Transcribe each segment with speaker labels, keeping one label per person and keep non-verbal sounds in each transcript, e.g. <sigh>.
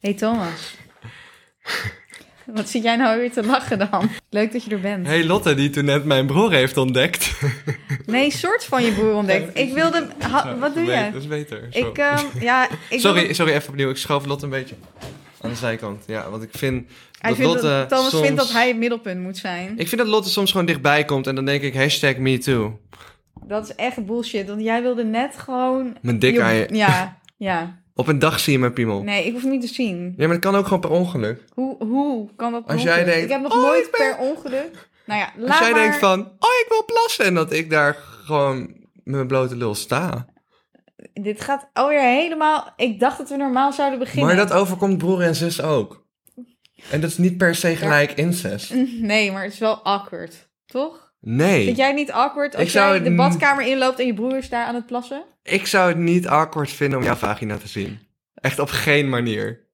Speaker 1: Hey Thomas. Wat zit jij nou weer te lachen dan? Leuk dat je er bent.
Speaker 2: Hey Lotte, die toen net mijn broer heeft ontdekt.
Speaker 1: Nee, soort van je broer ontdekt. Ik wilde...
Speaker 2: <laughs>
Speaker 1: ha- wat doe
Speaker 2: Nee,
Speaker 1: jij?
Speaker 2: Dat is beter. Zo.
Speaker 1: Ik, ehm, ja,
Speaker 2: <laughs>
Speaker 1: ik
Speaker 2: sorry,
Speaker 1: wilde-
Speaker 2: sorry, even opnieuw. Ik schoof Lotte een beetje aan de zijkant. Ja, want ik vind
Speaker 1: Hij
Speaker 2: dat
Speaker 1: vindt
Speaker 2: Lotte
Speaker 1: dat, Thomas
Speaker 2: soms...
Speaker 1: vindt dat hij het middelpunt moet zijn.
Speaker 2: Ik vind dat Lotte soms gewoon dichtbij komt en dan denk ik hashtag me too.
Speaker 1: Dat is echt bullshit, want jij wilde net gewoon...
Speaker 2: Mijn dik
Speaker 1: je-
Speaker 2: aan je.
Speaker 1: Ja, ja.
Speaker 2: Op een dag zie je mijn piemel.
Speaker 1: Nee, ik hoef het niet te zien.
Speaker 2: Ja, maar dat kan ook gewoon per ongeluk.
Speaker 1: Hoe, hoe kan dat per
Speaker 2: Als jij
Speaker 1: ongeluk?
Speaker 2: denkt,
Speaker 1: Ik heb nog
Speaker 2: oh,
Speaker 1: nooit
Speaker 2: ik ben-
Speaker 1: per ongeluk... Nou ja, laat
Speaker 2: Als jij
Speaker 1: maar...
Speaker 2: denkt van, oh ik wil plassen. En dat ik daar gewoon met mijn blote lul sta.
Speaker 1: Dit gaat alweer helemaal... Ik dacht dat we normaal zouden beginnen.
Speaker 2: Maar dat overkomt broer en zus ook. En dat is niet per se gelijk incest.
Speaker 1: Mm, Nee, maar het is wel awkward, toch?
Speaker 2: Nee.
Speaker 1: Vind jij het niet awkward als
Speaker 2: Ik zou
Speaker 1: jij de
Speaker 2: het n-
Speaker 1: badkamer inloopt en je broer is daar aan het plassen?
Speaker 2: Ik zou het niet awkward vinden om jouw vagina te zien. Echt op geen manier.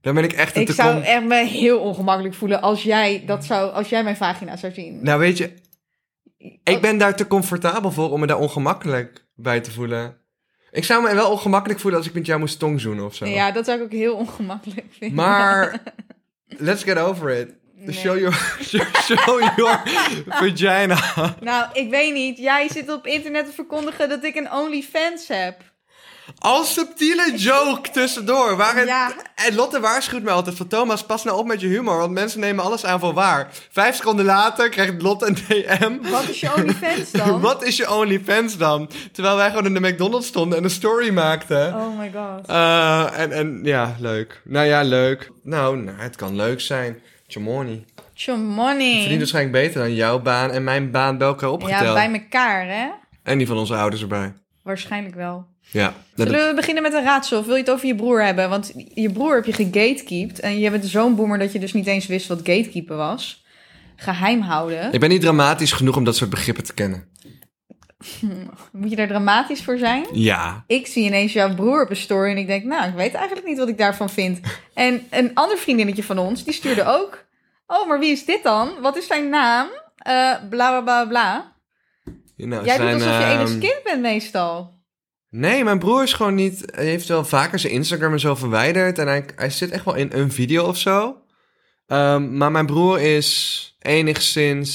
Speaker 2: Dan ben ik echt een
Speaker 1: Ik zou
Speaker 2: tekom...
Speaker 1: echt me heel ongemakkelijk voelen als jij, dat zou, als jij mijn vagina zou zien.
Speaker 2: Nou weet je,
Speaker 1: Oh.
Speaker 2: ik ben daar te comfortabel voor om me daar ongemakkelijk bij te voelen. Ik zou me wel ongemakkelijk voelen als ik met jou moest tongzoenen of zo.
Speaker 1: Ja, dat zou ik ook heel ongemakkelijk vinden. <laughs>
Speaker 2: Maar let's get over it.
Speaker 1: Nee.
Speaker 2: Show your, <laughs> show your vagina.
Speaker 1: Nou, ik weet niet. Jij zit op internet te verkondigen dat ik een OnlyFans heb.
Speaker 2: Al subtiele joke tussendoor. Waar het-
Speaker 1: Ja.
Speaker 2: En Lotte waarschuwt mij altijd van Thomas, pas nou op met je humor, want mensen nemen alles aan voor waar. Vijf seconden later krijgt Lotte een DM.
Speaker 1: Wat
Speaker 2: <laughs>
Speaker 1: is je OnlyFans dan?
Speaker 2: Wat is je OnlyFans dan? Terwijl wij gewoon in de McDonald's stonden en een story maakten.
Speaker 1: Oh my god.
Speaker 2: Eh, en, en ja, leuk. Nou ja, leuk. Nou, nou het kan leuk zijn. Chomoni.
Speaker 1: Chomoni.
Speaker 2: Verdient waarschijnlijk beter dan jouw baan en mijn baan bij elkaar opgeteld.
Speaker 1: Ja, bij elkaar, hè?
Speaker 2: En die van onze ouders erbij.
Speaker 1: Waarschijnlijk wel.
Speaker 2: Ja. Nou, dat-
Speaker 1: Zullen we beginnen met een raadsel? Of wil je het over je broer hebben? Want je broer heb je gegatekeept. En je bent zo'n boomer dat je dus niet eens wist wat gatekeepen was. Geheim houden.
Speaker 2: Ik ben niet dramatisch genoeg om dat soort begrippen te kennen.
Speaker 1: Moet je daar dramatisch voor zijn?
Speaker 2: Ja.
Speaker 1: Ik zie ineens jouw broer op een story en ik denk, nou, ik weet eigenlijk niet wat ik daarvan vind. En een ander vriendinnetje van ons, die stuurde ook. Oh, maar wie is dit dan? Wat is zijn naam? Eh, bla bla bla bla.
Speaker 2: Nou,
Speaker 1: Jij doet
Speaker 2: zijn,
Speaker 1: alsof je
Speaker 2: ehm,
Speaker 1: enig kind bent meestal.
Speaker 2: Nee, mijn broer is gewoon niet. Hij heeft wel vaker zijn Instagram en zo verwijderd. En hij, hij zit echt wel in een video of zo. Ehm, maar mijn broer is enigszins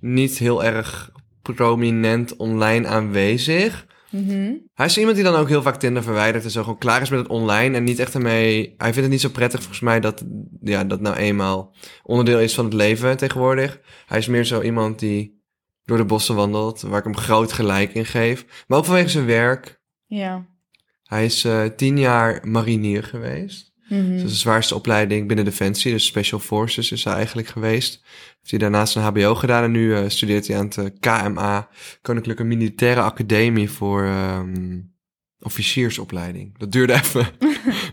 Speaker 2: niet heel erg prominent online aanwezig.
Speaker 1: Mhm.
Speaker 2: Hij is iemand die dan ook heel vaak Tinder verwijdert en zo gewoon klaar is met het online en niet echt ermee. Hij vindt het niet zo prettig volgens mij dat ja, dat nou eenmaal onderdeel is van het leven tegenwoordig. Hij is meer zo iemand die door de bossen wandelt, waar ik hem groot gelijk in geef. Maar ook vanwege zijn werk.
Speaker 1: Ja.
Speaker 2: Hij is eh, tien jaar marinier geweest.
Speaker 1: Mhm.
Speaker 2: Dus dat is de zwaarste opleiding binnen Defensie, dus Special Forces is hij eigenlijk geweest. Heeft hij daarnaast een HBO gedaan en nu eh, studeert hij aan het eh, KMA, Koninklijke Militaire Academie voor ehm, officiersopleiding. Dat duurde <laughs> even.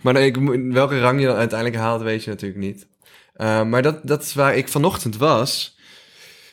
Speaker 2: maar nee, ik, moet- welke rang je dan uiteindelijk haalt, weet je natuurlijk niet. Eh, maar dat, dat is waar ik vanochtend was.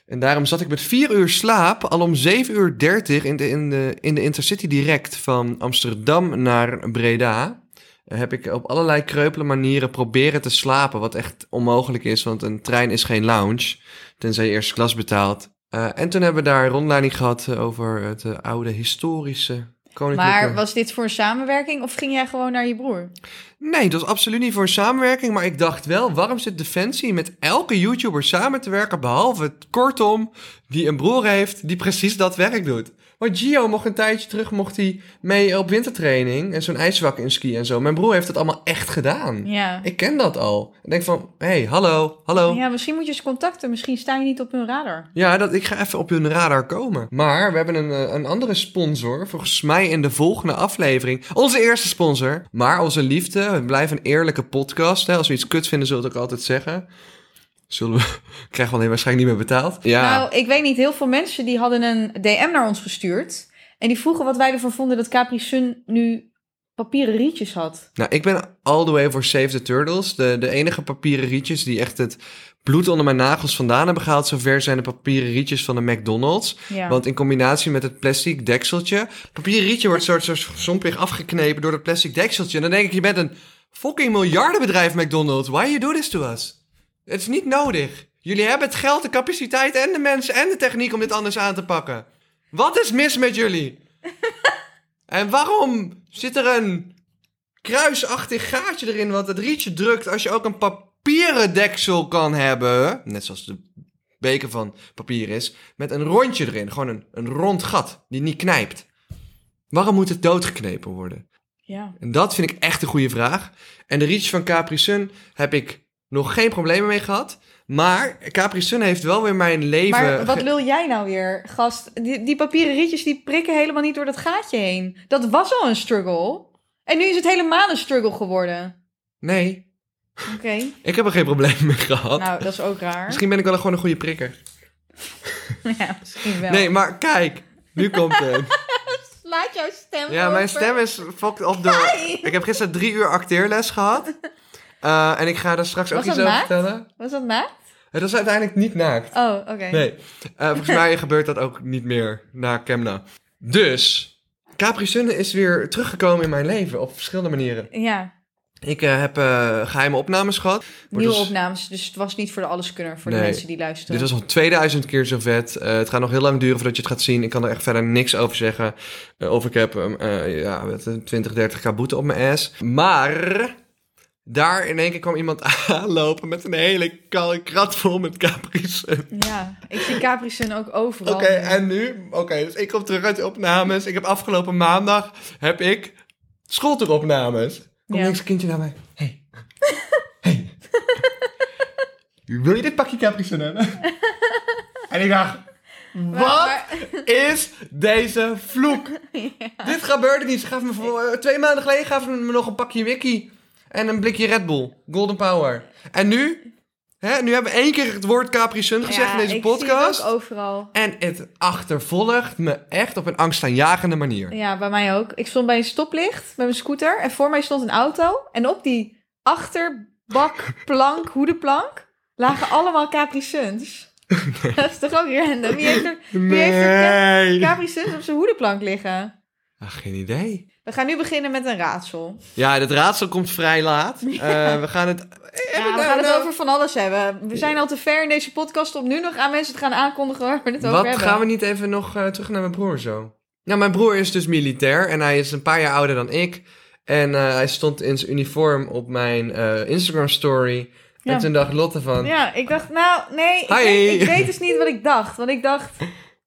Speaker 2: En daarom zat ik met vier uur slaap al om 7 uur 30 in de, in de, in de Intercity direct van Amsterdam naar Breda Eh, heb ik op allerlei kreupele manieren proberen te slapen. Wat echt onmogelijk is, want een trein is geen lounge. Tenzij je eerste klas betaalt. Eh, en toen hebben we daar een rondleiding gehad eh, over het eh, oude historische koninklijke...
Speaker 1: Maar was dit voor een samenwerking of ging jij gewoon naar je broer?
Speaker 2: Nee, dat was absoluut niet voor een samenwerking. Maar ik dacht wel, waarom zit Defensie met elke YouTuber samen te werken... behalve het kortom, die een broer heeft die precies dat werk doet. Want Gio mocht een tijdje terug mocht hij mee op wintertraining... en zo'n ijswak in ski en zo. Mijn broer heeft het allemaal echt gedaan.
Speaker 1: Ja.
Speaker 2: Ik ken dat al. Ik denk van, hé, hey, hallo, hallo. Ja,
Speaker 1: Ja, misschien moet je ze contacten. Misschien sta je niet op hun radar.
Speaker 2: dat, ik ga even op hun radar komen. Maar we hebben een, eh, een andere sponsor, volgens mij in de volgende aflevering. Onze eerste sponsor. Maar onze liefde, we blijven een eerlijke podcast. Hè. Als we iets kut vinden, zullen we het ook altijd zeggen. Zullen we, <laughs> krijgen we alleen waarschijnlijk niet meer betaald. Ja,
Speaker 1: Nou, ik weet niet. Heel veel mensen die hadden een DM naar ons gestuurd. En die vroegen wat wij ervan vonden dat Capri Sun nu papieren rietjes had.
Speaker 2: Nou, ik ben all the way voor Save the Turtles. De, de enige papieren rietjes die echt het bloed onder mijn nagels vandaan hebben gehaald. Zover zijn de papieren rietjes van de McDonald's.
Speaker 1: Ja.
Speaker 2: Want in combinatie met het plastic dekseltje. Papieren rietje wordt soort soort sompig afgeknepen door dat plastic dekseltje. En dan denk ik, je bent een fucking miljardenbedrijf, McDonald's. Why you do this to us? Het is niet nodig. Jullie hebben het geld, de capaciteit en de mensen en de techniek om dit anders aan te pakken. Wat is mis met jullie? en waarom zit er een kruisachtig gaatje erin wat het rietje drukt. Als je ook een papieren deksel kan hebben, net zoals de beker van papier is, met een rondje erin. Gewoon een, een rond gat die niet knijpt. Waarom moet het doodgeknepen worden?
Speaker 1: Ja.
Speaker 2: En dat vind ik echt een goede vraag. En de reach van Capri Sun heb ik nog geen problemen mee gehad. Maar Capri Sun heeft wel weer mijn leven...
Speaker 1: Maar wat
Speaker 2: ge-
Speaker 1: lul jij nou weer, gast? Die, die papieren rietjes die prikken helemaal niet door dat gaatje heen. Dat was al een struggle. En nu is het helemaal een struggle geworden.
Speaker 2: Nee,
Speaker 1: Oké.
Speaker 2: ik heb er geen <laughs> probleem mee gehad.
Speaker 1: Nou, dat is ook raar.
Speaker 2: <laughs> Misschien ben ik wel gewoon een goede prikker.
Speaker 1: Ja, misschien wel.
Speaker 2: Nee, maar kijk. Nu komt het.
Speaker 1: Slaat jouw stem
Speaker 2: Ja, mijn
Speaker 1: over.
Speaker 2: stem is fucked op door... Ik heb gisteren drie uur acteerles gehad. Eh, en ik ga daar straks
Speaker 1: Was
Speaker 2: ook iets
Speaker 1: dat
Speaker 2: over
Speaker 1: naakt?
Speaker 2: vertellen.
Speaker 1: Was dat naakt?
Speaker 2: Het was uiteindelijk niet naakt.
Speaker 1: Oh, oké.
Speaker 2: Nee. Eh, volgens mij <laughs> gebeurt dat ook niet meer na Kemna. Dus, Capri Sun is weer teruggekomen in mijn leven op verschillende manieren.
Speaker 1: Ja,
Speaker 2: Ik eh, heb eh, geheime opnames gehad. Wordt
Speaker 1: nieuwe
Speaker 2: dus-
Speaker 1: opnames. Dus het was niet voor de alleskunner, voor
Speaker 2: Nee. Dus
Speaker 1: de mensen die luisteren.
Speaker 2: Dit was al 2000 keer zo vet. Eh, het gaat nog heel lang duren voordat je het gaat zien. Ik kan er echt verder niks over zeggen. Eh, of ik heb ehm, eh, ja, wat, eh, 20, 30k boete op mijn ass. Maar daar in één keer kwam iemand <laughs> aanlopen met een hele kal- krat vol met Capri Sun.
Speaker 1: Ja, ik zie Capri Sun ook overal.
Speaker 2: Oké,
Speaker 1: nu.
Speaker 2: en nu? Oké, dus ik kom terug uit de opnames. Ik heb afgelopen maandag heb ik schooltoeropnames. Komt
Speaker 1: Ja.
Speaker 2: niks een kindje naar mij. Hey. <laughs> hey. Wil je dit pakje Capri
Speaker 1: <laughs>
Speaker 2: Sun hebben? en ik dacht, wat
Speaker 1: maar-
Speaker 2: is deze
Speaker 1: <laughs>
Speaker 2: vloek? Dit gebeurde niet. Ze gaf me voor, eh, twee maanden geleden gaf ze me nog een pakje wiki en een blikje Red Bull, Golden Power. En nu? Hè, nu hebben we één keer het woord Capri Sun gezegd
Speaker 1: Ja,
Speaker 2: in deze
Speaker 1: ik
Speaker 2: podcast.
Speaker 1: Zie het ook overal.
Speaker 2: En het achtervolgt me echt op een angstaanjagende manier.
Speaker 1: Ja, bij mij ook. Ik stond bij een stoplicht met mijn scooter en voor mij stond een auto. En op die achterbakplank, hoedenplank, lagen allemaal Capri Suns. Dat is toch ook random? Wie heeft er, wie heeft er Capri Suns op zijn hoedenplank liggen?
Speaker 2: Ach, Ah, geen idee.
Speaker 1: We gaan nu beginnen met een raadsel.
Speaker 2: Ja, dat raadsel komt vrij laat. Eh, we gaan het... Heb ik
Speaker 1: Ja, we
Speaker 2: nou-
Speaker 1: gaan het
Speaker 2: nou-
Speaker 1: over van alles hebben. We zijn al te ver in deze podcast om nu nog aan mensen te gaan aankondigen waar we het over
Speaker 2: Wat
Speaker 1: hebben.
Speaker 2: gaan we niet even nog eh, terug naar mijn broer zo? Nou, mijn broer is dus militair en hij is een paar jaar ouder dan ik. En eh, hij stond in zijn uniform op mijn eh, Instagram story.
Speaker 1: Ja.
Speaker 2: En toen dacht Lotte van...
Speaker 1: Ja, ik dacht, nou, nee, ik,
Speaker 2: Hi.
Speaker 1: weet, ik weet dus niet wat ik dacht. Want ik dacht,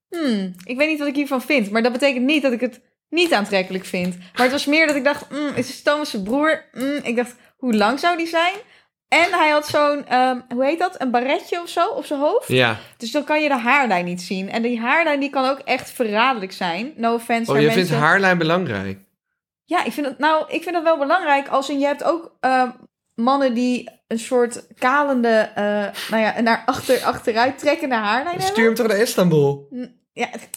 Speaker 1: hmm, ik weet niet wat ik hiervan vind. Maar dat betekent niet dat ik het niet aantrekkelijk vind. Maar het was meer dat ik dacht, hmm, het is Thomas' zijn broer. Hmm, ik dacht, hoe lang zou die zijn? En hij had zo'n, ehm, hoe heet dat? Een baretje of zo op zijn hoofd.
Speaker 2: Ja.
Speaker 1: Dus dan kan je de haarlijn niet zien. En die haarlijn die kan ook echt verraderlijk zijn. No offense
Speaker 2: Oh,
Speaker 1: naar
Speaker 2: je
Speaker 1: mensen.
Speaker 2: vindt haarlijn belangrijk.
Speaker 1: Ja, ik vind dat, nou, ik vind dat wel belangrijk. Als in, je hebt ook eh, mannen die een soort kalende, eh, nou ja, naar achter, achteruit trekkende haarlijn hebben.
Speaker 2: Stuur hem toch naar Istanbul?
Speaker 1: Nou, Ja, het-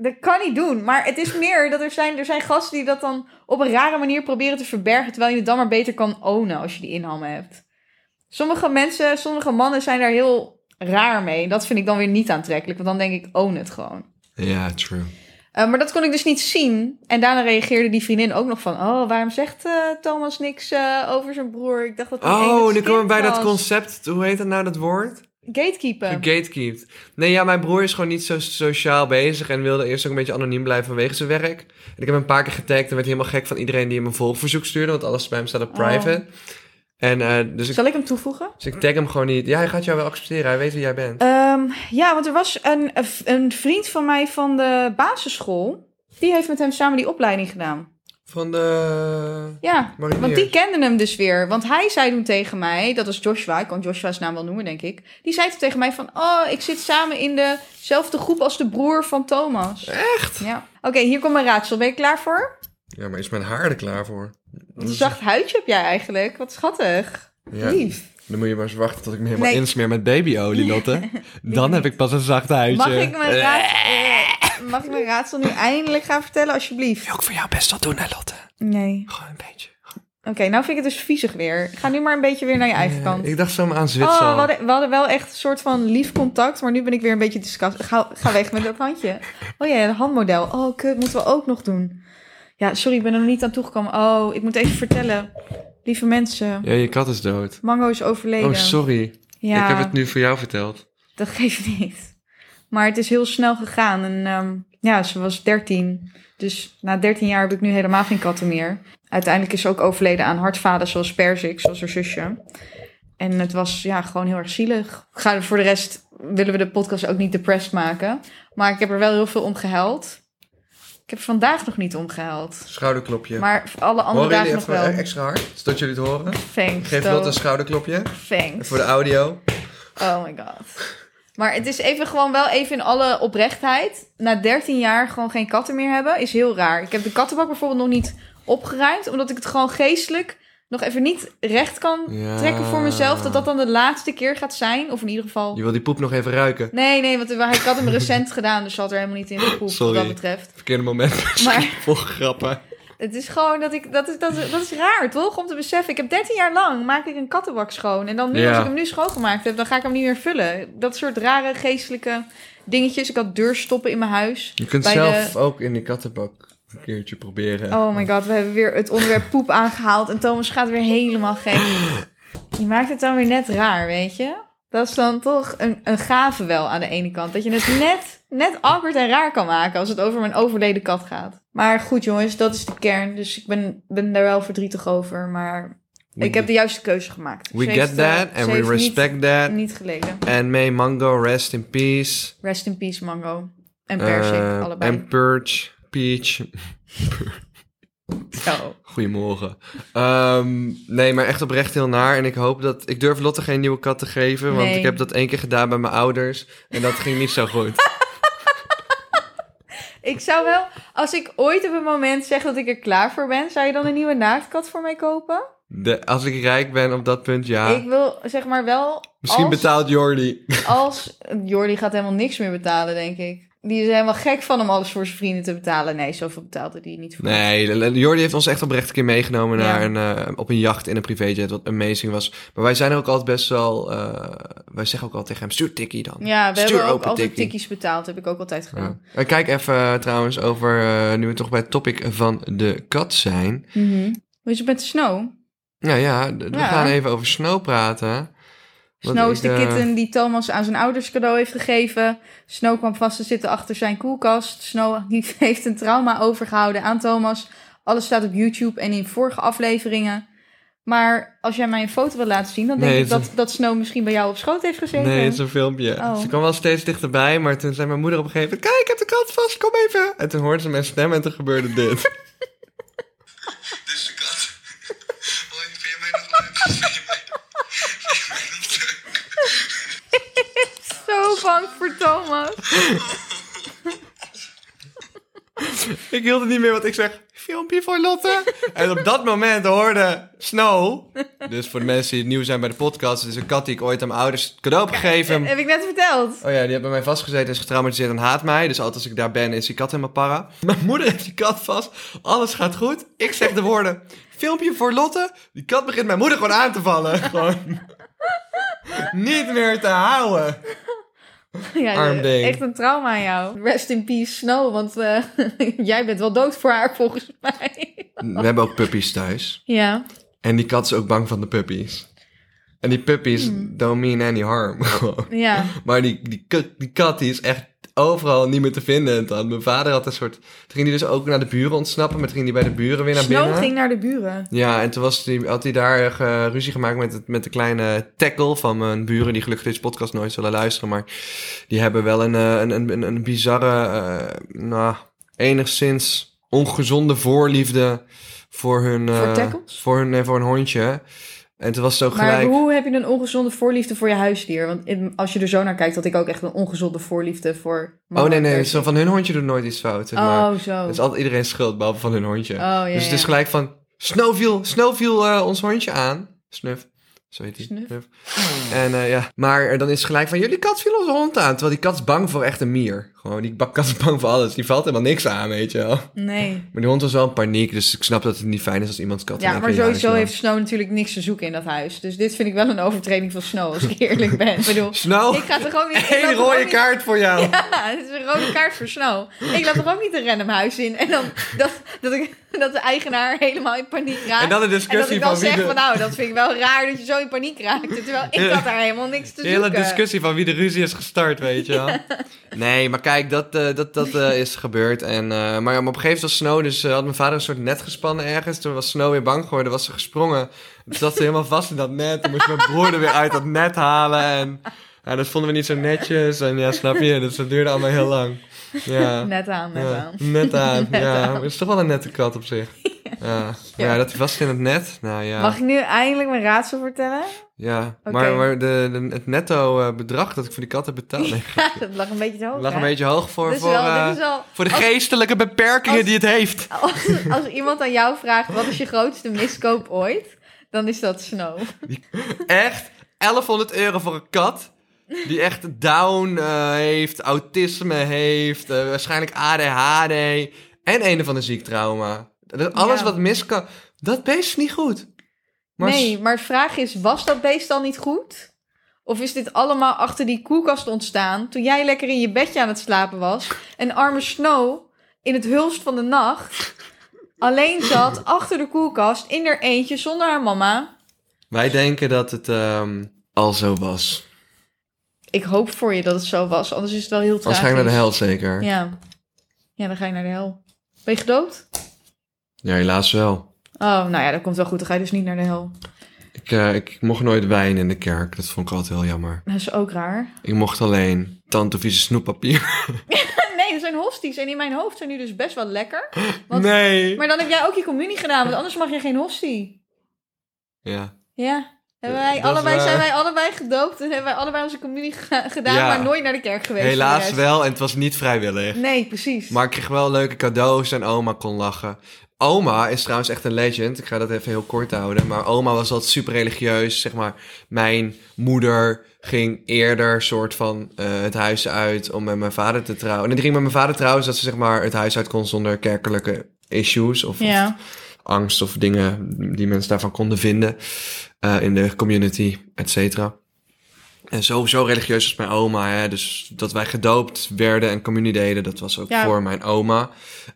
Speaker 1: dat kan niet doen. Maar het is meer dat er zijn, er zijn gasten die dat dan op een rare manier proberen te verbergen. Terwijl je het dan maar beter kan ownen als je die inhammen hebt. Sommige mensen, sommige mannen zijn daar heel raar mee. Dat vind ik dan weer niet aantrekkelijk. Want dan denk ik, own het gewoon.
Speaker 2: Ja, true.
Speaker 1: Eh, maar dat kon ik dus niet zien. En daarna reageerde die vriendin ook nog van... Oh, waarom zegt eh, Thomas niks eh, over zijn broer? Ik dacht dat hij een
Speaker 2: Oh,
Speaker 1: engeltje
Speaker 2: nu komen we bij
Speaker 1: kind
Speaker 2: dat
Speaker 1: was.
Speaker 2: concept. Hoe heet dat nou, dat woord?
Speaker 1: Gatekeeper.
Speaker 2: Gatekeept. Nee, ja, mijn broer is gewoon niet zo sociaal bezig en wilde eerst ook een beetje anoniem blijven vanwege zijn werk. En ik heb hem een paar keer getagd en werd helemaal gek van iedereen die hem een volgverzoek stuurde, want alles bij hem staat op
Speaker 1: Oh.
Speaker 2: private. En eh, dus, ik,
Speaker 1: Zal ik hem toevoegen?
Speaker 2: dus ik tag hem gewoon niet. Ja, hij gaat jou wel accepteren, hij weet wie jij bent.
Speaker 1: Ehm, ja, want er was een, een vriend van mij van de basisschool. Die heeft met hem samen die opleiding gedaan.
Speaker 2: Van de...
Speaker 1: Ja,
Speaker 2: Mariniers.
Speaker 1: want die kenden hem dus weer. Want hij zei toen tegen mij, dat was Joshua, ik kan Joshua's naam wel noemen, denk ik. Die zei toen tegen mij van, oh, ik zit samen in dezelfde groep als de broer van Thomas.
Speaker 2: Echt?
Speaker 1: Ja. Oké, hier komt mijn raadsel. Ben je klaar voor?
Speaker 2: Ja, maar is mijn haar er klaar voor?
Speaker 1: Wat een zacht huidje heb jij eigenlijk. Wat schattig.
Speaker 2: Ja,
Speaker 1: Lief.
Speaker 2: dan moet je maar eens wachten tot ik me helemaal
Speaker 1: Nee.
Speaker 2: insmeer met
Speaker 1: <laughs>
Speaker 2: babyolie, Lotte. Dan heb ik pas een zacht huidje. Eh.
Speaker 1: Mag ik, mijn raad, eh, mag ik mijn raadsel nu eindelijk gaan vertellen, alsjeblieft?
Speaker 2: Wil ik voor jou best wat doen, hè, Lotte?
Speaker 1: Nee.
Speaker 2: Gewoon een beetje.
Speaker 1: Oké, nou vind ik het dus viezig weer. Ga nu maar een beetje weer naar je eigen kant.
Speaker 2: Ik dacht zo aan Zwitser.
Speaker 1: Oh, we hadden, we hadden wel echt een soort van lief contact, maar nu ben ik weer een beetje disgust. Ga, ga weg met dat handje. Oh ja, een handmodel. Oh, kut, moeten we ook nog doen. Ja, sorry, ik ben er nog niet aan toegekomen. Oh, ik moet even vertellen. Lieve mensen,
Speaker 2: Ja, je kat is dood.
Speaker 1: Mango is overleden.
Speaker 2: Oh, sorry.
Speaker 1: Ja.
Speaker 2: Ik heb het nu voor jou verteld.
Speaker 1: Dat <laughs> geeft niet. Maar het is heel snel gegaan. En ehm, ja, ze was 13. Dus na 13 jaar heb ik nu helemaal geen katten meer. Uiteindelijk is ze ook overleden aan hartfalen zoals Perzik, zoals haar zusje. En het was ja, gewoon heel erg zielig. Ga voor de rest willen we de podcast ook niet depressed maken. Maar ik heb er wel heel veel om gehuild. Ik heb er vandaag nog niet om gehuild.
Speaker 2: Schouderklopje.
Speaker 1: Maar voor alle andere
Speaker 2: Horen jullie
Speaker 1: dagen nog
Speaker 2: even
Speaker 1: wel.
Speaker 2: extra hard? Zodat jullie het horen.
Speaker 1: Thanks.
Speaker 2: Geef
Speaker 1: though.
Speaker 2: Lotte een schouderklopje. En
Speaker 1: Thanks.
Speaker 2: voor de audio.
Speaker 1: Oh my god. Maar het is even gewoon wel even in alle oprechtheid. Na 13 jaar gewoon geen katten meer hebben is heel raar. Ik heb de kattenbak bijvoorbeeld nog niet opgeruimd. Omdat ik het gewoon geestelijk nog even niet recht kan
Speaker 2: Ja.
Speaker 1: trekken voor mezelf. Dat dat dan de laatste keer gaat zijn. Of in ieder geval
Speaker 2: Je wil die poep nog even ruiken.
Speaker 1: Nee, nee, want hij had hem recent gedaan, dus ze had er helemaal niet in gepoept
Speaker 2: Sorry.
Speaker 1: wat dat betreft.
Speaker 2: Verkeerde moment.
Speaker 1: <laughs> Maar
Speaker 2: <laughs> Vol grappen.
Speaker 1: het is gewoon dat ik, dat is, dat, is, dat is raar toch, om te beseffen. Ik heb 13 jaar lang maak ik een kattenbak schoon. En dan nu,
Speaker 2: Ja.
Speaker 1: als ik hem nu schoongemaakt heb, dan ga ik hem niet meer vullen. Dat soort rare geestelijke dingetjes. Ik had deurstoppen in mijn huis.
Speaker 2: Je kunt
Speaker 1: Bij
Speaker 2: zelf ook in die kattenbak een keertje proberen.
Speaker 1: Oh my god, we hebben weer het onderwerp
Speaker 2: <laughs>
Speaker 1: poep aangehaald. En Thomas gaat weer helemaal gek. Je maakt het dan weer net raar, weet je? Dat is dan toch een, een gave wel aan de ene kant. Dat je het net, net awkward en raar kan maken als het over mijn overleden kat gaat. Maar goed jongens, dat is de kern. Dus ik ben, ben daar wel verdrietig over. Maar
Speaker 2: We
Speaker 1: ik heb de juiste keuze gemaakt.
Speaker 2: We
Speaker 1: Ze
Speaker 2: get
Speaker 1: heeft, eh,
Speaker 2: that
Speaker 1: ze
Speaker 2: and we
Speaker 1: heeft
Speaker 2: respect that.
Speaker 1: Niet, niet geleden.
Speaker 2: And may Mango rest in peace.
Speaker 1: Rest in peace, Mango. En Persik,
Speaker 2: Eh,
Speaker 1: allebei.
Speaker 2: En Purge. Peach.
Speaker 1: Zo.
Speaker 2: Goedemorgen. Ehm, nee, maar echt oprecht heel naar. En ik hoop dat... Ik durf Lotte geen nieuwe kat te geven. Want
Speaker 1: Nee.
Speaker 2: ik heb dat één keer gedaan bij mijn ouders. En dat ging niet zo goed.
Speaker 1: Ik zou wel, als ik ooit op een moment zeg dat ik er klaar voor ben, zou je dan een nieuwe naaktkat voor mij kopen?
Speaker 2: De, als ik rijk ben op dat punt, ja.
Speaker 1: Ik wil zeg maar wel.
Speaker 2: Ah. Misschien
Speaker 1: als,
Speaker 2: betaalt Jordi.
Speaker 1: Als Jordi gaat helemaal niks meer betalen, denk ik. Die is helemaal gek van om alles voor zijn vrienden te betalen. Nee, zoveel betaalde die niet voor.
Speaker 2: Nee, Jordi heeft ons echt oprecht een keer meegenomen
Speaker 1: Ja.
Speaker 2: naar een, eh, op een jacht in een privéjet, wat amazing was. Maar wij zijn ook altijd best wel, eh, wij zeggen ook altijd tegen hem, stuur tikkie dan.
Speaker 1: Ja, we
Speaker 2: Stuur
Speaker 1: hebben ook
Speaker 2: open
Speaker 1: altijd
Speaker 2: tikkie.
Speaker 1: tikkies betaald. Heb ik ook altijd
Speaker 2: Ja.
Speaker 1: gedaan.
Speaker 2: Eh, Kijk even eh, trouwens over, eh, nu we toch bij het topic van de kat zijn.
Speaker 1: Mhm. Hoe is het met Snow?
Speaker 2: Nou ja, d- we
Speaker 1: Ja.
Speaker 2: gaan even over Snow praten. Want
Speaker 1: Snow
Speaker 2: ik,
Speaker 1: is de
Speaker 2: eh,
Speaker 1: kitten die Thomas aan zijn ouders cadeau heeft gegeven. Snow kwam vast te zitten achter zijn koelkast. Snow <laughs> die heeft een trauma overgehouden aan Thomas. Alles staat op YouTube en in vorige afleveringen. Maar als jij mij een foto wil laten zien, dan denk
Speaker 2: Nee,
Speaker 1: ik
Speaker 2: het
Speaker 1: dat, dat Snow misschien bij jou op schoot heeft gezeten.
Speaker 2: Nee, het is een filmpje.
Speaker 1: Oh.
Speaker 2: Ze kwam wel steeds dichterbij, maar toen zei mijn moeder op een gegeven moment... Kijk, ik heb de kat vast, kom even. En toen hoorde ze mijn stem en toen gebeurde dit.
Speaker 3: Dit is de kat. Hoi, vind je mij nog leuk? Vind je mij, vind je mij nog leuk?
Speaker 1: Zo bang voor
Speaker 2: <laughs>
Speaker 1: Thomas.
Speaker 2: <laughs> ik hield het niet meer, want ik zeg... Filmpje voor Lotte. <laughs> en op dat moment hoorde Snow... Dus voor de mensen die nieuw zijn bij de podcast... Het is een kat die ik ooit aan mijn ouders cadeau heb gegeven.
Speaker 1: Heb ik net verteld. <laughs>
Speaker 2: Oh ja, die heeft bij mij vastgezeten, is getraumatiseerd en haat mij. Dus altijd als ik daar ben, is die kat helemaal para. <laughs> Mijn moeder heeft die kat vast. Alles gaat goed. Ik zeg de woorden. Filmpje voor Lotte. Die kat begint mijn moeder gewoon aan te vallen. <laughs> Gewoon. Niet meer te houden.
Speaker 1: Ja,
Speaker 2: Arm
Speaker 1: de-
Speaker 2: ding.
Speaker 1: Echt een trauma aan jou. Rest in peace, Snow. Want eh, <laughs> jij bent wel dood voor haar, volgens mij. <laughs>
Speaker 2: We hebben ook puppies thuis.
Speaker 1: ja.
Speaker 2: En die kat is ook bang van de puppies. En die puppies
Speaker 1: Hmm.
Speaker 2: don't mean any harm. <laughs> Gewoon.
Speaker 1: Ja.
Speaker 2: Maar die, die, kut- die kat die is echt overal niet meer te vinden. En dan, mijn vader had een soort... Toen ging die dus ook naar de buren ontsnappen. Maar toen ging die bij de buren weer naar
Speaker 1: Snow
Speaker 2: binnen.
Speaker 1: ging naar de buren.
Speaker 2: Ja, en toen was die, had hij daar eh, ge- ruzie gemaakt met, het, met de kleine tackle van mijn buren, die gelukkig deze podcast nooit zullen luisteren. Maar die hebben wel een, eh, een, een, een, een bizarre, eh, nou, enigszins ongezonde voorliefde voor hun... eh,
Speaker 1: Voor tackles?
Speaker 2: Voor hun, nee, voor hun hondje. En toen was het ook
Speaker 1: Maar
Speaker 2: gelijk...
Speaker 1: hoe heb je een ongezonde voorliefde voor je huisdier? Want in- als je er zo naar kijkt, had ik ook echt een ongezonde voorliefde voor.
Speaker 2: Oh
Speaker 1: mannen.
Speaker 2: nee, nee, zo van hun hondje doet nooit iets fout. zeg maar.
Speaker 1: Oh, zo.
Speaker 2: Het is altijd iedereen schuld, behalve van hun hondje.
Speaker 1: ja,
Speaker 2: dus het
Speaker 1: ja.
Speaker 2: is gelijk van, Snow viel, Snow viel eh, ons hondje aan. Snuf. Zo heet die.
Speaker 1: Snuf.
Speaker 2: En eh, ja, maar er- dan is het gelijk van, jullie kat viel onze hond aan. Terwijl die kat is bang voor echt een mier. Gewoon, die ba- kat is bang voor alles. Die valt helemaal niks aan, weet je wel.
Speaker 1: Nee.
Speaker 2: Maar die hond was wel in paniek, dus ik snap dat het niet fijn is als iemands kat
Speaker 1: Ja,
Speaker 2: aan
Speaker 1: maar
Speaker 2: kan jagen,
Speaker 1: sowieso
Speaker 2: weet je
Speaker 1: heeft Snow natuurlijk niks te zoeken in dat huis. Dus dit vind ik wel een overtreding van Snow, als
Speaker 2: <laughs>
Speaker 1: ik eerlijk ben. Ik bedoel,
Speaker 2: wel.
Speaker 1: ik
Speaker 2: Snow,
Speaker 1: ga toch ook niet... ik laat
Speaker 2: <laughs> één
Speaker 1: toch ook
Speaker 2: rode
Speaker 1: niet-
Speaker 2: kaart voor
Speaker 1: <laughs>
Speaker 2: jou.
Speaker 1: Ja, het is een rode kaart voor Snow. Ik laat toch ook niet een random huis in. En dan dat, dat, ik, dat de eigenaar helemaal in paniek raakt.
Speaker 2: En dan de
Speaker 1: En dat
Speaker 2: discussie
Speaker 1: ik dan
Speaker 2: van wie
Speaker 1: zeg
Speaker 2: de...
Speaker 1: van nou, dat vind ik wel raar dat je zo in paniek raakt. Terwijl ik had daar helemaal niks te
Speaker 2: De
Speaker 1: zoeken.
Speaker 2: hele discussie van wie de ruzie is gestart, weet je wel. <laughs> Nee, maar kijk, kijk, dat, eh, dat, dat eh, is gebeurd. En, eh, maar op een gegeven moment was Snow, dus eh, had mijn vader een soort net gespannen ergens. Toen was Snow weer bang geworden, was ze gesprongen. Toen zat ze helemaal vast in dat net. Toen moest mijn broer er weer uit dat net halen. En ja, dat vonden we niet zo netjes. En ja, snap je, dus dat duurde allemaal heel lang. Ja.
Speaker 1: Net aan, net
Speaker 2: ja,
Speaker 1: aan.
Speaker 2: Net aan,
Speaker 1: <laughs> Net
Speaker 2: ja.
Speaker 1: aan.
Speaker 2: Het is toch wel een nette kat op
Speaker 1: <laughs>
Speaker 2: zich. Ja, Maar ja dat hij vast in het net. Nou ja.
Speaker 1: Mag ik nu eindelijk mijn raadsel
Speaker 2: <laughs>
Speaker 1: vertellen? <laughs>
Speaker 2: Ja,
Speaker 1: Oké.
Speaker 2: maar, maar de, de- het netto eh, bedrag dat ik voor die kat heb
Speaker 1: <laughs>
Speaker 2: betaald nee,
Speaker 1: dat lag een beetje te hoog.
Speaker 2: lag een
Speaker 1: hè?
Speaker 2: beetje hoog voor,
Speaker 1: Dit is
Speaker 2: voor,
Speaker 1: wel-
Speaker 2: eh,
Speaker 1: dit is wel-
Speaker 2: voor de
Speaker 1: als-
Speaker 2: geestelijke beperkingen
Speaker 1: als-
Speaker 2: die het heeft.
Speaker 1: Als, als iemand aan jou vraagt, wat is je grootste miskoop ooit? Dan is dat snow.
Speaker 2: Echt 1100 euro voor een kat die echt down eh, heeft, autisme heeft, eh, waarschijnlijk ADHD en een of ander ziektrauma. Dat alles
Speaker 1: Ja.
Speaker 2: wat mis kan, dat beest is niet goed. Maar
Speaker 1: Nee, maar de vraag is, was dat beest al niet goed? Of is dit allemaal achter die koelkast ontstaan toen jij lekker in je bedje aan het slapen was en arme Snow in het hulst van de nacht alleen zat achter de koelkast in haar eentje zonder haar mama?
Speaker 2: Wij denken dat het ehm, al zo was.
Speaker 1: Ik hoop voor je dat het zo was, anders is het wel heel
Speaker 2: Anders
Speaker 1: tragisch.
Speaker 2: ga ik naar de hel zeker. Ja,
Speaker 1: Ja. ja, dan ga je naar de hel. Ben je gedood?
Speaker 2: helaas wel.
Speaker 1: Oh, nou ja, dat komt wel goed. Dan ga je dus niet naar de hel.
Speaker 2: Ik, eh, ik mocht nooit wijn in de kerk, dat vond ik altijd heel jammer.
Speaker 1: Dat is ook raar. <laughs>
Speaker 2: Ik mocht alleen tante vieze snoeppapier.
Speaker 1: Nee, er zijn hosties en in mijn hoofd zijn nu dus best wel lekker. Wat?
Speaker 2: Nee.
Speaker 1: Maar dan heb jij ook je communie gedaan, want anders mag je geen hostie.
Speaker 2: Ja.
Speaker 1: Ja. Hebben wij
Speaker 2: Eh, Dat is
Speaker 1: allebei,
Speaker 2: waar.
Speaker 1: zijn wij allebei gedoopt en hebben wij allebei onze communie geda- gedaan,
Speaker 2: Ja.
Speaker 1: maar nooit naar de kerk geweest. voor
Speaker 2: Helaas
Speaker 1: de rest.
Speaker 2: wel, en het was niet vrijwillig.
Speaker 1: Nee, precies.
Speaker 2: Maar ik kreeg wel leuke cadeaus en oma kon lachen. Oma is trouwens echt een legend. Ik ga dat even heel kort houden. Maar oma was altijd super religieus. Zeg maar, mijn moeder ging eerder soort van eh, het huis uit om met mijn vader te trouwen. En die ging met mijn vader trouwen, zodat ze zeg maar het huis uit kon zonder kerkelijke issues. Of,
Speaker 1: Ja.
Speaker 2: of angst of dingen die mensen daarvan konden vinden eh, in de community, et cetera. En zo, zo religieus als mijn oma. Hè? Dus dat wij gedoopt werden en communie deden, dat was ook
Speaker 1: Ja.
Speaker 2: voor mijn oma.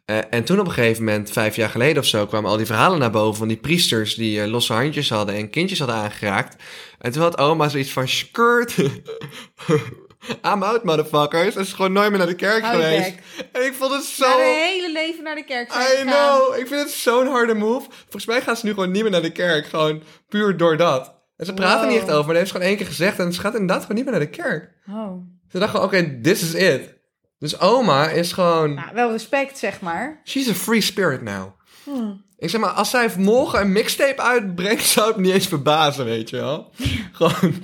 Speaker 2: Eh, en toen op een gegeven moment, vijf jaar geleden of zo, kwamen al die verhalen naar boven van die priesters die eh, losse handjes hadden en kindjes hadden aangeraakt. En toen had oma zoiets van, skirt, <laughs> I'm out motherfuckers. En ze is gewoon nooit meer naar de kerk
Speaker 1: Hou je
Speaker 2: geweest. En ik vond het zo...
Speaker 1: Naar het hele leven naar de kerk zijn
Speaker 2: I
Speaker 1: gegaan.
Speaker 2: know. Ik vind het zo'n harde move. Volgens mij gaan ze nu gewoon niet meer naar de kerk. Gewoon puur door dat. En ze praten
Speaker 1: Wow.
Speaker 2: niet echt over, maar dat heeft ze gewoon één keer gezegd. En ze gaat inderdaad gewoon niet meer naar de kerk.
Speaker 1: Oh.
Speaker 2: Ze dacht gewoon, oké, this is it. Dus oma is gewoon...
Speaker 1: Nou, wel respect, zeg maar.
Speaker 2: She's a free spirit now.
Speaker 1: Hm.
Speaker 2: Ik zeg maar, als zij morgen een mixtape uitbrengt, <laughs> zou het me niet eens verbazen, weet je wel.
Speaker 1: <laughs>
Speaker 2: Gewoon,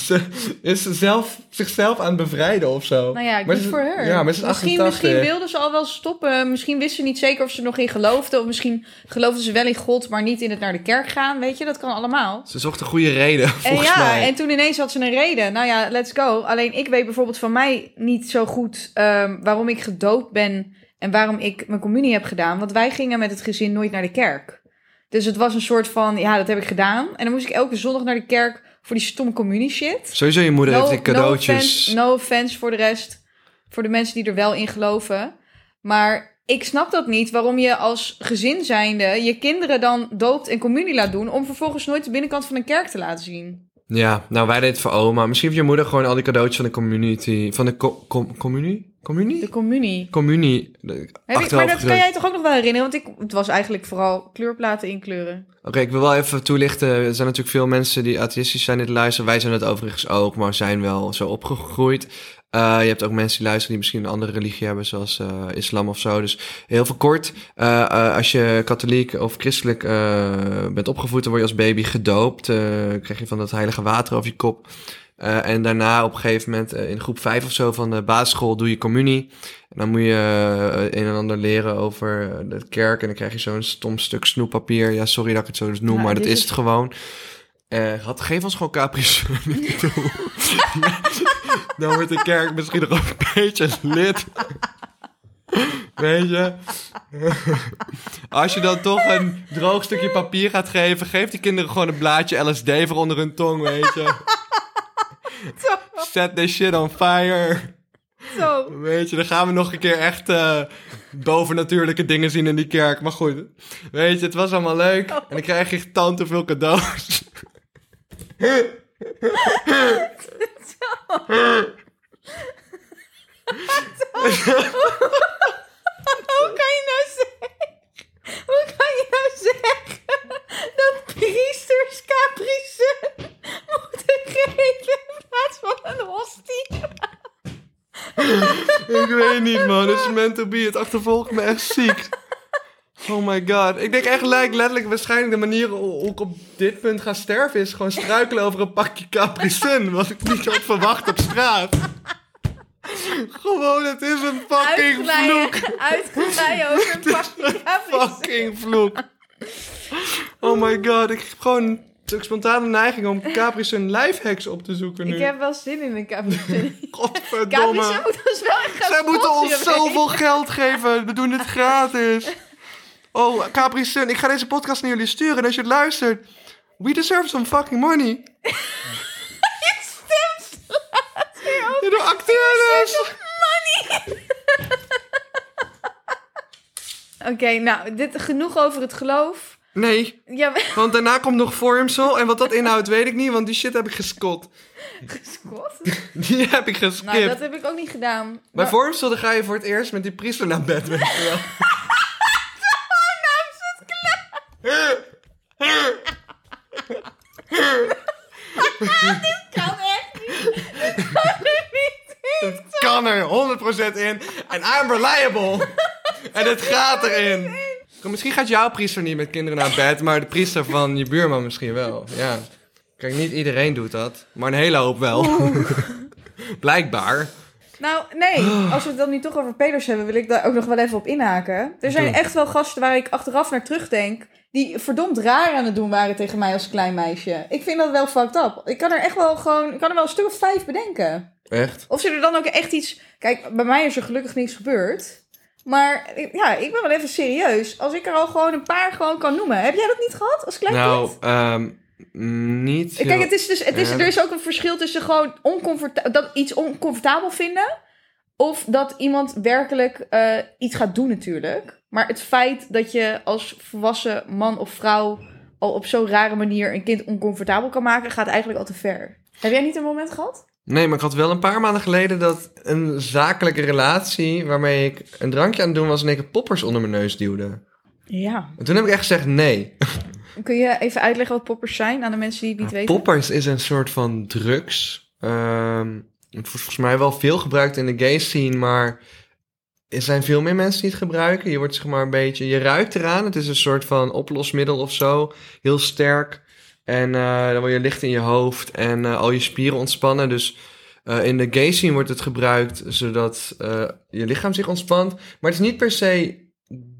Speaker 2: ze is ze zelf, zichzelf aan het bevrijden of zo.
Speaker 1: Nou ja,
Speaker 2: Maar
Speaker 1: good
Speaker 2: ze-
Speaker 1: voor haar.
Speaker 2: Ja, maar ze is
Speaker 1: misschien,
Speaker 2: 88.
Speaker 1: misschien wilden ze al wel stoppen. Misschien wisten ze niet zeker of ze er nog in geloofden. Of misschien geloofden ze wel in God, maar niet in het naar de kerk gaan. Weet je, dat kan allemaal.
Speaker 2: Ze zocht een goede reden,
Speaker 1: En
Speaker 2: volgens
Speaker 1: ja,
Speaker 2: mij.
Speaker 1: en toen ineens had ze een reden. Nou ja, let's go. Alleen ik weet bijvoorbeeld van mij niet zo goed ehm, waarom ik gedoopt ben en waarom ik mijn communie heb gedaan. Want wij gingen met het gezin nooit naar de kerk. Dus het was een soort van, ja, dat heb ik gedaan. En dan moest ik elke zondag naar de kerk voor die stomme communie shit.
Speaker 2: Sowieso, je moeder heeft die cadeautjes...
Speaker 1: offense, no offense voor de rest. Voor de mensen die er wel in geloven. Maar ik snap dat niet. Waarom je als gezin zijnde je kinderen dan doopt en communie laat doen. Om vervolgens nooit de binnenkant van een kerk te laten zien.
Speaker 2: Ja, nou wij deden het voor oma. Misschien heeft je moeder gewoon al die cadeautjes van de community... Van de co com communie?
Speaker 1: De
Speaker 2: Communie?
Speaker 1: communie.
Speaker 2: Communie. de-
Speaker 1: Heb ik, maar
Speaker 2: achterhoofd
Speaker 1: dat kan
Speaker 2: gedrukt.
Speaker 1: jij toch ook nog wel herinneren? Want ik, het was eigenlijk vooral kleurplaten inkleuren.
Speaker 2: Oké, ik wil wel even toelichten. Er zijn natuurlijk veel mensen die atheïstisch zijn dit luisteren. Wij zijn het overigens ook, maar zijn wel zo opgegroeid. Eh, je hebt ook mensen die luisteren die misschien een andere religie hebben, zoals eh, islam of zo. Dus heel veel kort, eh, eh, als je katholiek of christelijk eh, bent opgevoed, dan word je als baby gedoopt. eh, krijg je van dat heilige water over je kop. Eh, en daarna op een gegeven moment eh, in groep 5 of zo van de basisschool doe je communie. En dan moet je eh, een en ander leren over eh, de kerk. En dan krijg je zo'n stom stuk snoeppapier. Ja, sorry dat ik het zo dus noem,
Speaker 1: Ja,
Speaker 2: maar
Speaker 1: dit
Speaker 2: dat Nou, is
Speaker 1: is-
Speaker 2: het gewoon. Eh, had, geef ons gewoon Capri Sun <laughs> niet toe. Dan wordt de kerk misschien nog een beetje lid. Weet je? <laughs> Als je dan toch een droog stukje papier gaat geven... geef die kinderen gewoon een blaadje LSD voor onder hun tong, weet je? Set this shit on fire. <laughs>
Speaker 1: Zo.
Speaker 2: Weet je, dan gaan we nog een keer echt eh, bovennatuurlijke dingen zien in die kerk. Maar goed, weet je, het was allemaal leuk. En dan krijg je tant te veel cadeaus.
Speaker 1: Hoe kan je nou zeggen? Hoe kan je nou zeggen dat priesters caprice moeten geven in plaats van een hostie?
Speaker 2: Ik weet niet, man. Het is meant to be. Het achtervolgt me echt ziek. Oh my god. Ik denk echt lijkt letterlijk waarschijnlijk de manier ho- hoe ik op dit punt ga sterven is gewoon struikelen over een pakje Capri Sun. Wat ik niet had verwacht op straat. Gewoon, het is een fucking
Speaker 1: Uitglijden,
Speaker 2: vloek.
Speaker 1: uitglijden
Speaker 2: <laughs>
Speaker 1: over een pakje caprice.
Speaker 2: Fucking vloek. Oh my god. Ik heb gewoon een soort spontane neiging om Capri Sun lifehacks op te zoeken nu.
Speaker 1: Ik heb wel zin in een <laughs>
Speaker 2: <laughs>
Speaker 1: caprice.
Speaker 2: Godverdomme.
Speaker 1: Caprice moet ons wel echt gaan
Speaker 2: Zij moeten ons
Speaker 1: sponsoren, weet je.
Speaker 2: zoveel geld geven. We doen het gratis. Oh, Capri Sun, ik ga deze podcast naar jullie sturen. En als je het luistert, we deserve some fucking money.
Speaker 1: <laughs> Je stem slaat weer op.
Speaker 2: De acteurs.
Speaker 1: Oké, nou, dit genoeg over het geloof.
Speaker 2: Nee,
Speaker 1: Ja,
Speaker 2: want daarna komt nog Vormsel. En wat dat inhoudt, weet ik niet, want die shit heb ik gescot.
Speaker 1: <laughs> gesquat.
Speaker 2: Die heb ik geskipt.
Speaker 1: Nou, dat heb ik ook niet gedaan.
Speaker 2: Bij
Speaker 1: Maar
Speaker 2: Vormsel dan ga je voor het eerst met die priester naar bed, weet je wel.
Speaker 1: kan echt niet. <laughs> Dit kan er niet in.
Speaker 2: kan er 100% in. En I'm
Speaker 1: <laughs>
Speaker 2: reliable. en het gaat erin. Misschien gaat jouw priester niet met kinderen naar bed, maar de priester van je buurman misschien wel. Ja. Kijk, niet iedereen doet dat, maar een hele hoop wel. <laughs> Blijkbaar.
Speaker 1: Nou, nee. Als we het dan nu toch over peders hebben, wil ik daar ook nog wel even op inhaken. Er zijn
Speaker 2: Doe.
Speaker 1: echt wel gasten waar ik achteraf naar terugdenk. Die verdomd raar aan het doen waren tegen mij als klein meisje. Ik vind dat wel fucked up. Ik kan er echt wel gewoon. Ik kan er wel een stuk of vijf bedenken.
Speaker 2: Echt?
Speaker 1: Of ze er dan ook echt iets. Kijk, bij mij is er gelukkig niks gebeurd. Maar ik- ja, ik ben wel even serieus. Als ik er al gewoon een paar gewoon kan noemen. Heb jij dat niet gehad als klein
Speaker 2: nou,
Speaker 1: kind?
Speaker 2: ehm, niet. heel-
Speaker 1: Kijk, het is dus, het is,
Speaker 2: Ja.
Speaker 1: er is ook een verschil tussen gewoon oncomforta- dat iets oncomfortabel vinden. Of dat iemand werkelijk eh, iets gaat doen natuurlijk. Maar het feit dat je als volwassen man of vrouw al op zo'n rare manier een kind oncomfortabel kan maken, gaat eigenlijk al te ver. Heb jij niet een moment gehad?
Speaker 2: Nee, maar ik had wel een paar maanden geleden dat een zakelijke relatie waarmee ik een drankje aan het doen was en ik een poppers onder mijn neus duwde.
Speaker 1: Ja.
Speaker 2: En toen heb ik echt gezegd nee.
Speaker 1: Kun je even uitleggen wat poppers zijn aan de mensen die het niet
Speaker 2: Ja,
Speaker 1: weten?
Speaker 2: Poppers is een soort van drugs. Ehm, het wordt volgens mij wel veel gebruikt in de gay scene, maar er zijn veel meer mensen die het gebruiken. Je wordt zeg maar een beetje, je ruikt eraan. Het is een soort van oplosmiddel of zo. Heel sterk. En eh, dan word je licht in je hoofd en eh, al je spieren ontspannen. Dus eh, in de gay scene wordt het gebruikt zodat eh, je lichaam zich ontspant. Maar het is niet per se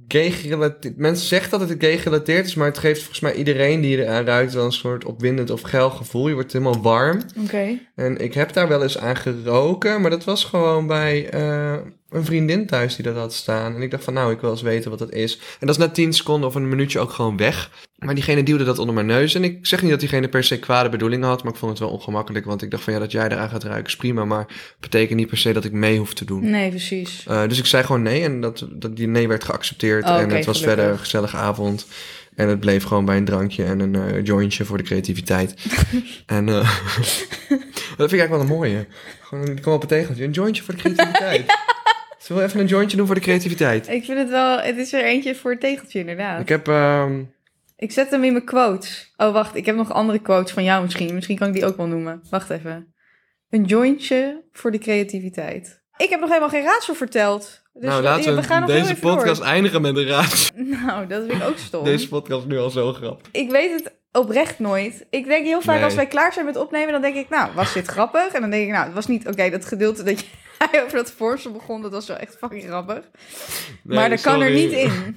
Speaker 2: gay gerelateerd. Mensen zeggen dat het gay gerelateerd is, maar het geeft volgens mij iedereen die eraan ruikt wel een soort opwindend of geil gevoel. Je wordt helemaal warm.
Speaker 1: Oké.
Speaker 2: En ik heb daar wel eens aan geroken, maar dat was gewoon bij eh, een vriendin thuis die dat had staan. En ik dacht van nou, ik wil eens weten wat dat is. En dat is na 10 seconden of een minuutje ook gewoon weg. Maar diegene duwde dat onder mijn neus. En ik zeg niet dat diegene per se kwade bedoelingen had, maar ik vond het wel ongemakkelijk. Want ik dacht van ja, dat jij eraan gaat ruiken is prima, maar betekent niet per se dat ik mee hoef te doen.
Speaker 1: Nee, precies.
Speaker 2: Eh, dus ik zei gewoon nee en dat, dat die nee werd geaccepteerd.
Speaker 1: Oh,
Speaker 2: en
Speaker 1: oké,
Speaker 2: het was
Speaker 1: gelukkig.
Speaker 2: verder een gezellige avond. En het bleef gewoon bij een drankje en een eh, jointje voor de
Speaker 1: <laughs>
Speaker 2: creativiteit. en eh, <laughs> dat vind ik eigenlijk wel een mooie. Gewoon, ik kwam op een tegeltje. Een jointje voor de creativiteit. Zullen we even een jointje doen voor de creativiteit?
Speaker 1: Ik vind het wel, het is er eentje voor het tegeltje inderdaad.
Speaker 2: Ik heb... ehm,
Speaker 1: Dus Ik zet hem in mijn quotes. Oh, wacht, ik heb nog andere quotes van jou misschien. Misschien kan ik die ook wel noemen. Wacht even. Een jointje voor de creativiteit. Ik heb nog helemaal geen raadsel verteld. Dus
Speaker 2: nou,
Speaker 1: we-
Speaker 2: laten
Speaker 1: we
Speaker 2: we,
Speaker 1: gaan nog heel
Speaker 2: deze
Speaker 1: even door.
Speaker 2: podcast eindigen met een
Speaker 1: <laughs>
Speaker 2: raad.
Speaker 1: Nou, dat vind ik ook stom.
Speaker 2: Deze podcast is nu al zo grappig.
Speaker 1: Ik weet het oprecht nooit. Ik denk heel vaak
Speaker 2: Nee.
Speaker 1: als wij klaar zijn met opnemen, dan denk ik, nou, was dit grappig? En dan denk ik, nou, het was niet, oké, dat gedeelte dat jij <laughs> over dat voorstel begon, dat was wel echt fucking grappig.
Speaker 2: Nee,
Speaker 1: maar dat kan er
Speaker 2: sorry.
Speaker 1: niet in.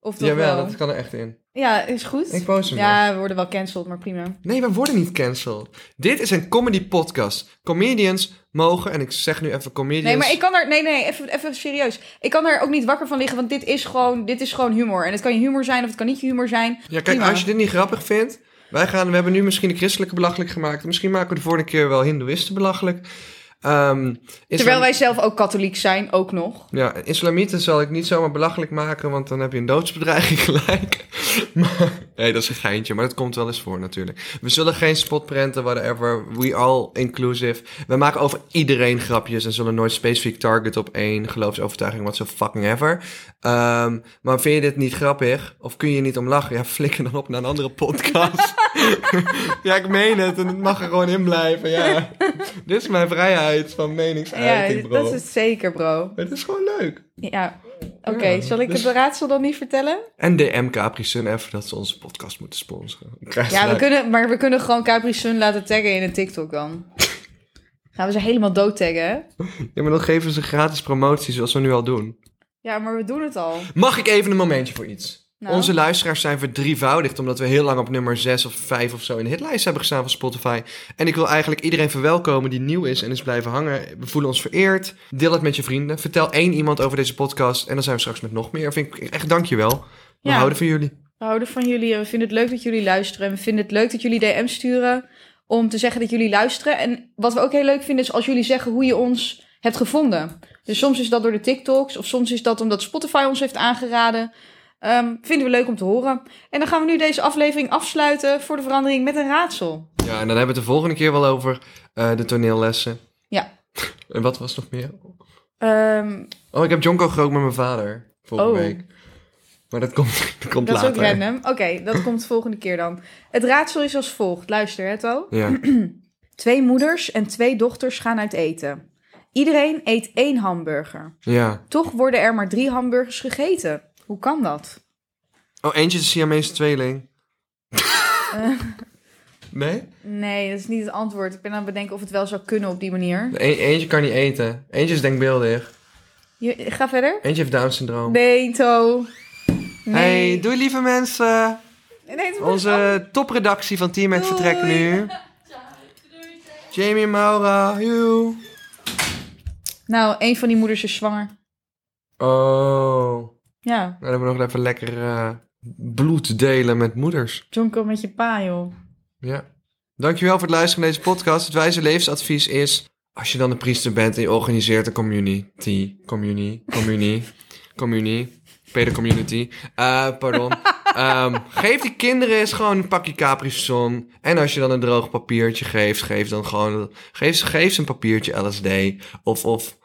Speaker 1: Of toch
Speaker 2: Jawel,
Speaker 1: wel?
Speaker 2: dat kan er echt in.
Speaker 1: Ja, is goed.
Speaker 2: Ik post hem
Speaker 1: ja, we worden wel cancelled, maar prima.
Speaker 2: Nee, we worden niet cancelled. Dit is een comedy podcast. Comedians mogen, en ik zeg nu even comedians.
Speaker 1: Nee, maar ik kan er... Nee, nee, even, even serieus. Ik kan er ook niet wakker van liggen, want dit is, gewoon, dit is gewoon humor. En het kan je humor zijn of het kan niet je humor zijn.
Speaker 2: Ja, kijk,
Speaker 1: Prima.
Speaker 2: als je dit niet grappig vindt. Wij gaan, we hebben nu misschien de christelijke belachelijk gemaakt. Misschien maken we de volgende keer wel hindoeïsten belachelijk. Ehm,
Speaker 1: Terwijl
Speaker 2: islam-
Speaker 1: wij zelf ook katholiek zijn, ook nog.
Speaker 2: Ja, <laughs> islamieten zal ik niet zomaar belachelijk maken, want dan heb je een doodsbedreiging gelijk. Maar Nee, dat is een geintje, maar dat komt wel eens voor natuurlijk. We zullen geen spotprenten, whatever. We all inclusive. We maken over iedereen grapjes en zullen nooit specifiek target op één geloofsovertuiging, what so fucking ever. Ehm, maar vind je dit niet grappig? Of kun je niet om lachen? Ja, flikker dan op naar een andere podcast. <laughs> ja, ik meen het en het mag er gewoon in blijven, ja. dit is mijn vrijheid van
Speaker 1: Ja,
Speaker 2: meningsuiting, bro.
Speaker 1: dat is het zeker, bro.
Speaker 2: Het is gewoon leuk.
Speaker 1: Ja. Oké,
Speaker 2: Ja,
Speaker 1: zal ik
Speaker 2: dus-
Speaker 1: het raadsel dan niet vertellen?
Speaker 2: En DM Capri Sun even dat ze onze podcast moeten sponsoren. Ik krijg
Speaker 1: Ja, we
Speaker 2: gelijk.
Speaker 1: kunnen, maar we kunnen gewoon Capri Sun laten taggen in een TikTok
Speaker 2: <laughs>
Speaker 1: dan. Gaan we ze helemaal dood taggen? hè?
Speaker 2: Ja, maar dan geven ze gratis promotie, zoals we nu al doen.
Speaker 1: Ja, maar we doen het al.
Speaker 2: Mag ik even een momentje voor iets?
Speaker 1: Nou.
Speaker 2: Onze luisteraars zijn verdrievoudigd omdat we heel lang op nummer 6 of 5 of zo in de hitlijst hebben gestaan van Spotify. En ik wil eigenlijk iedereen verwelkomen die nieuw is en is blijven hangen. We voelen ons vereerd. Deel het met je vrienden. Vertel één iemand over deze podcast en dan zijn we straks met nog meer. Vind ik echt dankjewel. We
Speaker 1: Ja.
Speaker 2: houden van jullie.
Speaker 1: We houden van jullie en we vinden het leuk dat jullie luisteren. En we vinden het leuk dat jullie DM sturen om te zeggen dat jullie luisteren. En wat we ook heel leuk vinden is als jullie zeggen hoe je ons hebt gevonden. Dus soms is dat door de TikToks of soms is dat omdat Spotify ons heeft aangeraden. Ehm, vinden we leuk om te horen. En dan gaan we nu deze aflevering afsluiten voor de verandering met een raadsel.
Speaker 2: Ja, en dan hebben we het de volgende keer wel over eh, de toneellessen.
Speaker 1: Ja.
Speaker 2: En wat was nog meer?
Speaker 1: Ehm,
Speaker 2: Oh, ik heb Jonko gerookt met mijn vader volgende
Speaker 1: Oh.
Speaker 2: week. Maar dat komt, <laughs> dat komt
Speaker 1: dat is
Speaker 2: later.
Speaker 1: ook random. Oké, dat komt volgende keer dan. Het raadsel is als volgt. Luister, hè, Toon?
Speaker 2: Ja.
Speaker 1: Twee moeders en twee dochters gaan uit eten. Iedereen eet één hamburger.
Speaker 2: ja.
Speaker 1: Toch worden er maar drie hamburgers gegeten. Hoe kan dat?
Speaker 2: Oh, eentje is een
Speaker 1: <laughs>
Speaker 2: Siamese tweeling. nee?
Speaker 1: Nee, dat is niet het antwoord. Ik ben aan het bedenken of het wel zou kunnen op die manier.
Speaker 2: E- eentje kan niet eten. Eentje is denkbeeldig.
Speaker 1: Je, ga verder.
Speaker 2: Eentje heeft Down syndroom.
Speaker 1: Nee, To.
Speaker 2: Hey, doei lieve mensen.
Speaker 1: Nee, het moet-
Speaker 2: Onze topredactie van Team Mac
Speaker 1: Doei.
Speaker 2: vertrekt
Speaker 1: <laughs>
Speaker 2: nu. Jamie en Maura, joe.
Speaker 1: Nou, een van die moeders is zwanger.
Speaker 2: Oh,
Speaker 1: Ja,
Speaker 2: dan hebben we nog even lekker eh, bloed delen met moeders.
Speaker 1: Jonko met je pa, joh.
Speaker 2: Ja. Dankjewel voor het luisteren naar deze podcast. Het wijze levensadvies is... Als je dan een priester bent en je organiseert een community... Communie, communie, communie... Peter community. Eh,
Speaker 1: <laughs>
Speaker 2: pardon. Ehm, geef die kinderen eens gewoon een pakje Capri-Sun. En als je dan een droog papiertje geeft, geef dan gewoon... Geef, ze- geef ze een papiertje LSD. Of, of...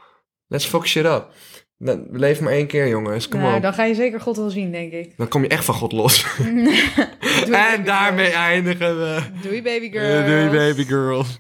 Speaker 2: Let's fuck shit up. Nou, We leven maar één keer, jongens. Kom
Speaker 1: Nou,
Speaker 2: op.
Speaker 1: dan ga je zeker God wel zien, denk ik.
Speaker 2: Dan kom je echt van God los.
Speaker 1: Doei,
Speaker 2: <laughs> en
Speaker 1: baby
Speaker 2: daarmee Eh, eindigen we.
Speaker 1: girls. Doei, baby girl.
Speaker 2: Doei, baby girls.